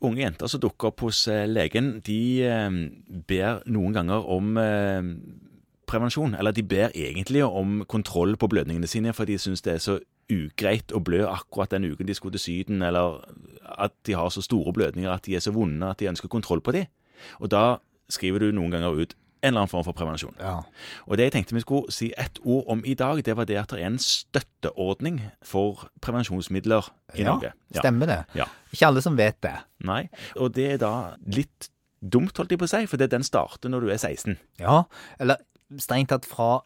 Unge jenter som dukker opp hos eh, legen, de eh, ber noen ganger om eh, prevensjon. Eller de ber egentlig om kontroll på blødningene sine, for de syns det er så ugreit å blø akkurat den uken de skulle til Syden, eller at de har så store blødninger at de er så vonde at de ønsker kontroll på de. Og da skriver du noen ganger ut en eller annen form for prevensjon. Ja. Og det jeg tenkte vi skulle si ett ord om i dag, det var det at det er en støtteordning for prevensjonsmidler i Norge. Ja. Stemmer det. Ja. Ikke alle som vet det. Nei, og det er da litt dumt, holdt jeg på å si, for det- den starter når du er 16. Ja, eller strengt tatt fra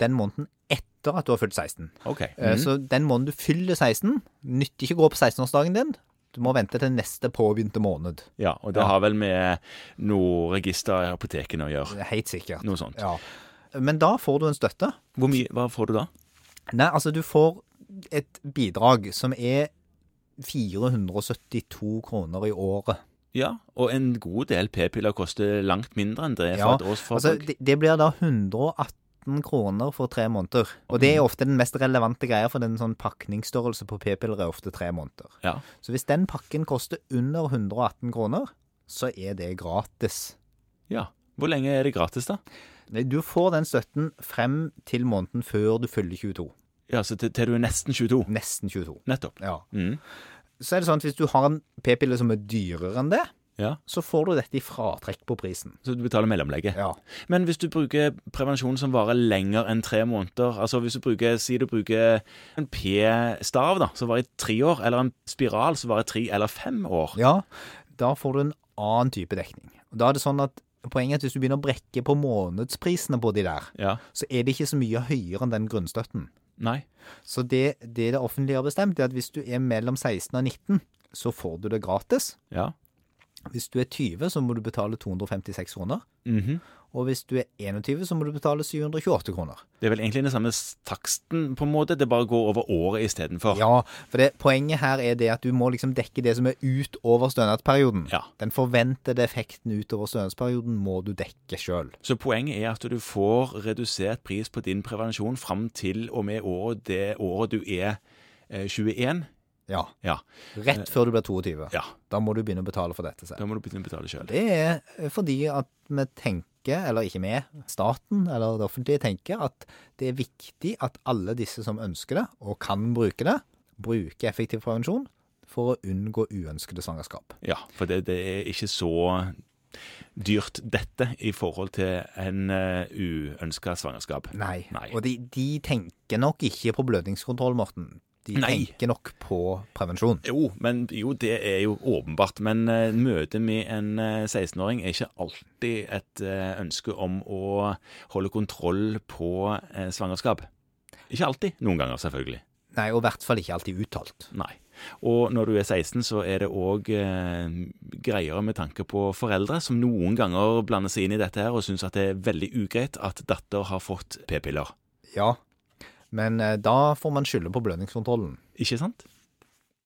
den måneden etter at du har fylt 16. Ok. Eh, Så den måneden du fyller 16, nytter ikke å gå på 16-årsdagen din. Du må vente til neste påbegynte måned. Ja, og det har vel med noe register i apotekene å gjøre. Det er Helt sikkert. Noe sånt. Ja. Men da får du en støtte. Hvor mye, hva får du da? Nei, altså du får et bidrag som er 472 kroner i året. Ja, og en god del p-piller koster langt mindre enn det for Ja, et års Altså, forbruk. det, det blir da 118 kroner for tre måneder. Og det er ofte den mest relevante greia, for den sånn pakningsstørrelse på p-piller er ofte tre måneder. ja. Så hvis den pakken koster under 118 kroner, så er det gratis. ja. Hvor lenge er det gratis, da? Nei, Du får den støtten frem til måneden før du fyller 22. Ja, så til, til du er nesten 22. Nesten 22. Nettopp. Ja. Mhm. Så er det sånn at hvis du har en p-pille som er dyrere enn det, Ja, så får du dette i fratrekk på prisen. Så du betaler mellomlegget. Ja. Men hvis du bruker prevensjon som varer lenger enn tre måneder, altså hvis du bruker, si du bruker en p-stav da, som varer i tre år, eller en spiral som varer i tre eller fem år, ja. Da får du en annen type dekning. Og Da er det sånn at Poenget er at hvis du begynner å brekke på månedsprisene på de der, ja, så er det ikke så mye høyere enn den grunnstøtten. nei, Så det det, det offentlige har bestemt, er at hvis du er mellom 16 og 19, så får du det gratis. ja, Hvis du er 20, så må du betale 256 kroner. mhm. Og hvis du er 21, så må du betale 728 kroner. Det er vel egentlig den samme taksten på en måte, det bare går over året i stedet for. Ja, for det, poenget her er det at du må liksom dekke det som er utover stønadsperioden. Ja. Den forventede effekten utover stønadsperioden må du dekke sjøl. Så poenget er at du får redusert pris på din prevensjon fram til og med året, det året du er eh, 21. Ja. Ja, Eh, Rett før du blir 22. ja, Da må du begynne å betale for dette selv. da må du begynne å betale selv. Det er fordi at vi tenker, eller ikke vi, staten eller det offentlige tenker at det er viktig at alle disse som ønsker det, og kan bruke det, bruker effektiv prevensjon for å unngå uønskede svangerskap. Ja, for det, det er ikke så dyrt dette i forhold til en uh, uønska svangerskap. Nei. Nei. Og de, de tenker nok ikke på blødningskontroll, Morten. De Nei. tenker nok på prevensjon. Jo, men jo, det er jo åpenbart. Men eh, møtet med en eh, 16-åring er ikke alltid et eh, ønske om å holde kontroll på eh, svangerskap. Ikke alltid. Noen ganger, selvfølgelig. Nei, og i hvert fall ikke alltid uttalt. Nei. Og når du er 16, så er det òg eh, greier med tanke på foreldre, som noen ganger blander seg inn i dette her og syns at det er veldig ugreit at datter har fått p-piller. Ja. Men eh, da får man skylde på blødningskontrollen. Ikke sant?